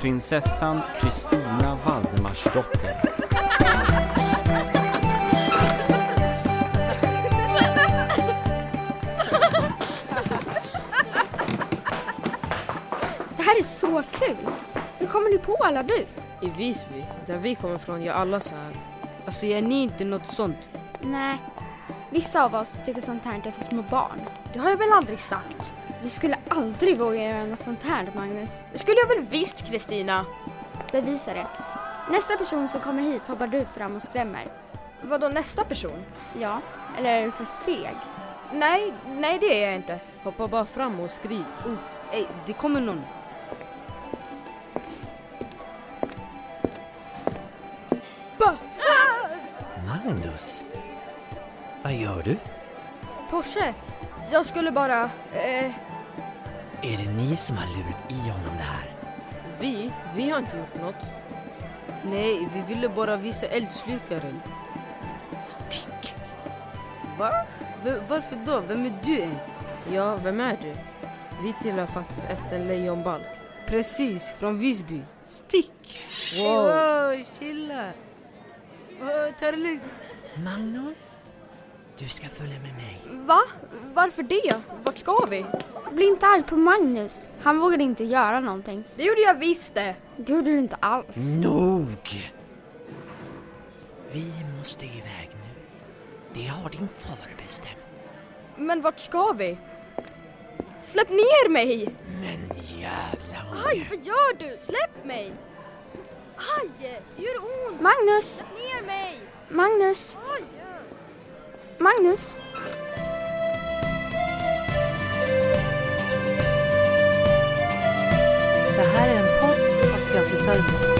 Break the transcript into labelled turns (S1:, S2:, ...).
S1: Prinsessan Kristina Valdemarsdotter.
S2: Det här är så kul! Hur kommer du på alla bus?
S3: I Visby, där vi kommer från, gör alla så här.
S4: Alltså gör ni inte något sånt?
S2: Nej, vissa av oss tycker sånt här är för små barn.
S5: Det har jag väl aldrig sagt?
S2: Du skulle aldrig våga göra något sånt här, Magnus.
S5: Det skulle jag väl visst, Kristina.
S2: Bevisa det. Nästa person som kommer hit hoppar du fram och skrämmer.
S5: Vadå nästa person?
S2: Ja, eller är du för feg?
S5: Nej, nej det är jag inte.
S3: Hoppa bara fram och skrik.
S4: Oh, ej, det kommer någon.
S6: Magnus? Vad gör du?
S5: Porsche, jag skulle bara... Eh,
S6: Är det ni som har lurat i honom det här?
S3: Vi, vi har inte gjort något.
S4: Nej, vi ville bara visa eldslukaren.
S6: Stick!
S4: Va? V- varför då? Vem är du ens?
S3: Ja, vem är du? Vi tillhör faktiskt ett en lejonbalk.
S4: Precis, från Visby.
S6: Stick!
S3: Wow!
S4: Wow, chilla. Wow, ta det lugnt.
S6: Magnus? Du ska följa med mig.
S5: va? Varför det? Vart ska vi?
S2: Bli inte arg på Magnus. Han vågade inte göra någonting.
S5: Det gjorde jag visst det.
S2: Det gjorde du inte alls.
S6: Nog! Vi måste iväg nu. Det har din far bestämt.
S5: Men vart ska vi? Släpp ner mig!
S6: Men jävla
S5: Aj,
S6: unge.
S5: vad gör du? Släpp mig! Aj, det gör ont!
S2: Magnus!
S5: Ner mig!
S2: Magnus!
S5: Aj!
S2: Magnus!
S7: Det här är en podd av Teater Sörmland.